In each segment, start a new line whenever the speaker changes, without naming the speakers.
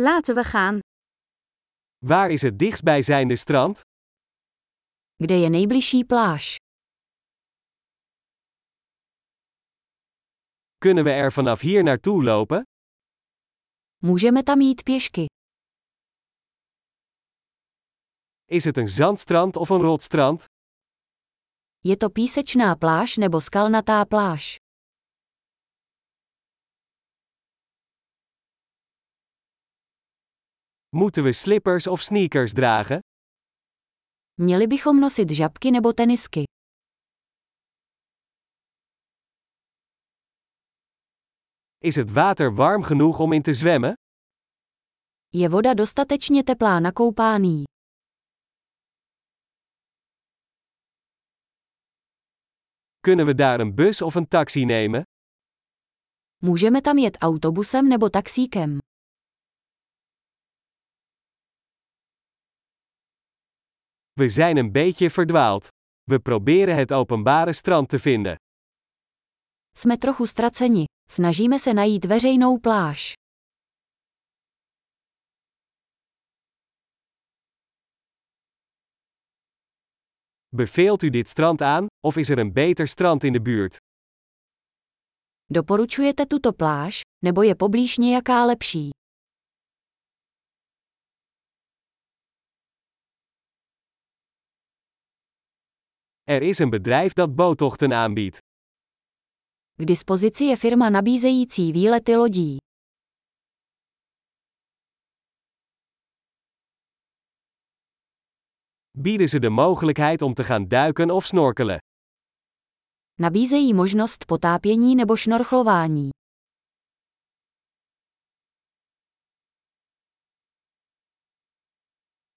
Laten we gaan.
Waar is het dichtstbijzijnde strand?
Kde je nejbližší pláž?
Kunnen we er vanaf hier naartoe lopen?
Můžeme tam jít pěšky.
Is het een zandstrand of een rotstrand?
Je to písečná pláž nebo skalnatá pláž?
Moeten we slippers of sneakers dragen?
Měli bychom nosit žabky nebo tenisky.
Is het water warm genoeg om in te zwemmen?
Je voda dostatečně teplá na koupání?
Kunnen we daar een bus of een taxi nemen?
Můžeme tam jet autobusem nebo taxíkem.
We zijn een beetje verdwaald. We proberen het openbare strand te vinden.
Jsme trochu ztraceni. Snažíme se najít veřejnou pláž.
Beveelt u dit strand aan, of is er een beter strand in de buurt?
Doporučujete tuto pláž, nebo je poblíž nějaká lepší?
Er is een bedrijf dat boottochten aanbiedt.
K dispozici je firma nabízející výlety lodí.
Bieden ze de mogelijkheid om te gaan duiken of snorkelen?
Nabízejí možnost potápění nebo šnorchlování.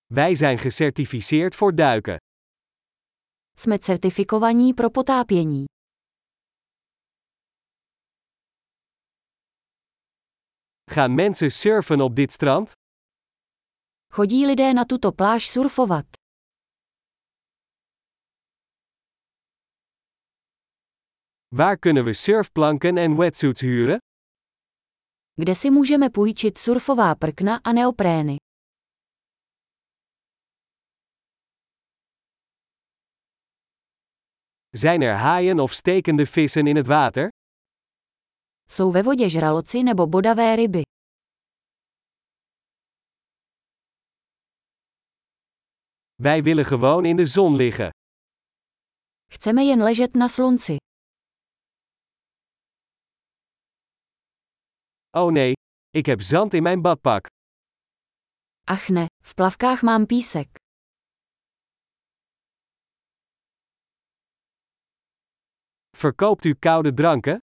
Wij zijn gecertificeerd voor duiken.
Jsme certifikovaní pro potápění.
Gaan mensen surfen op dit strand?
Chodí lidé na tuto pláž surfovat.
Waar kunnen we surfplanken en wetsuits huren?
Kde si můžeme půjčit surfová prkna a neoprény?
Zijn er haaien of stekende vissen in het water?
Jsou ve vodě žraloci nebo bodavé ryby.
Wij willen gewoon in de zon liggen.
Chceme jen ležet na slunci.
Oh nee, ik heb zand in mijn badpak.
Ach ne, v plavkách mám písek.
Verkoopt u koude dranken?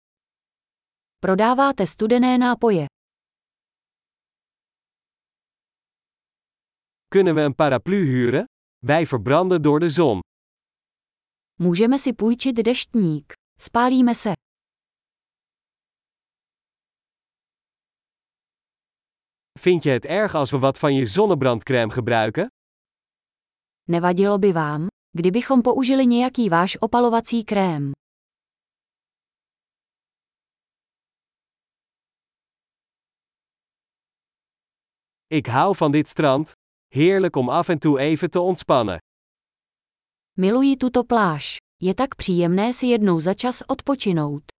Prodáváte studené nápoje.
Kunnen we een paraplu huren? Wij verbranden door de zon.
Můžeme si půjčit deštník. Spálíme se.
Vind je het erg als we wat van je zonnebrandcrème gebruiken?
Nevadilo by vám, kdybychom použili nějaký váš opalovací krém.
Ik hou van dit strand. Heerlijk om af en toe even te ontspannen.
Miluji tuto pláž. Je tak příjemné si jednou za čas odpočinout.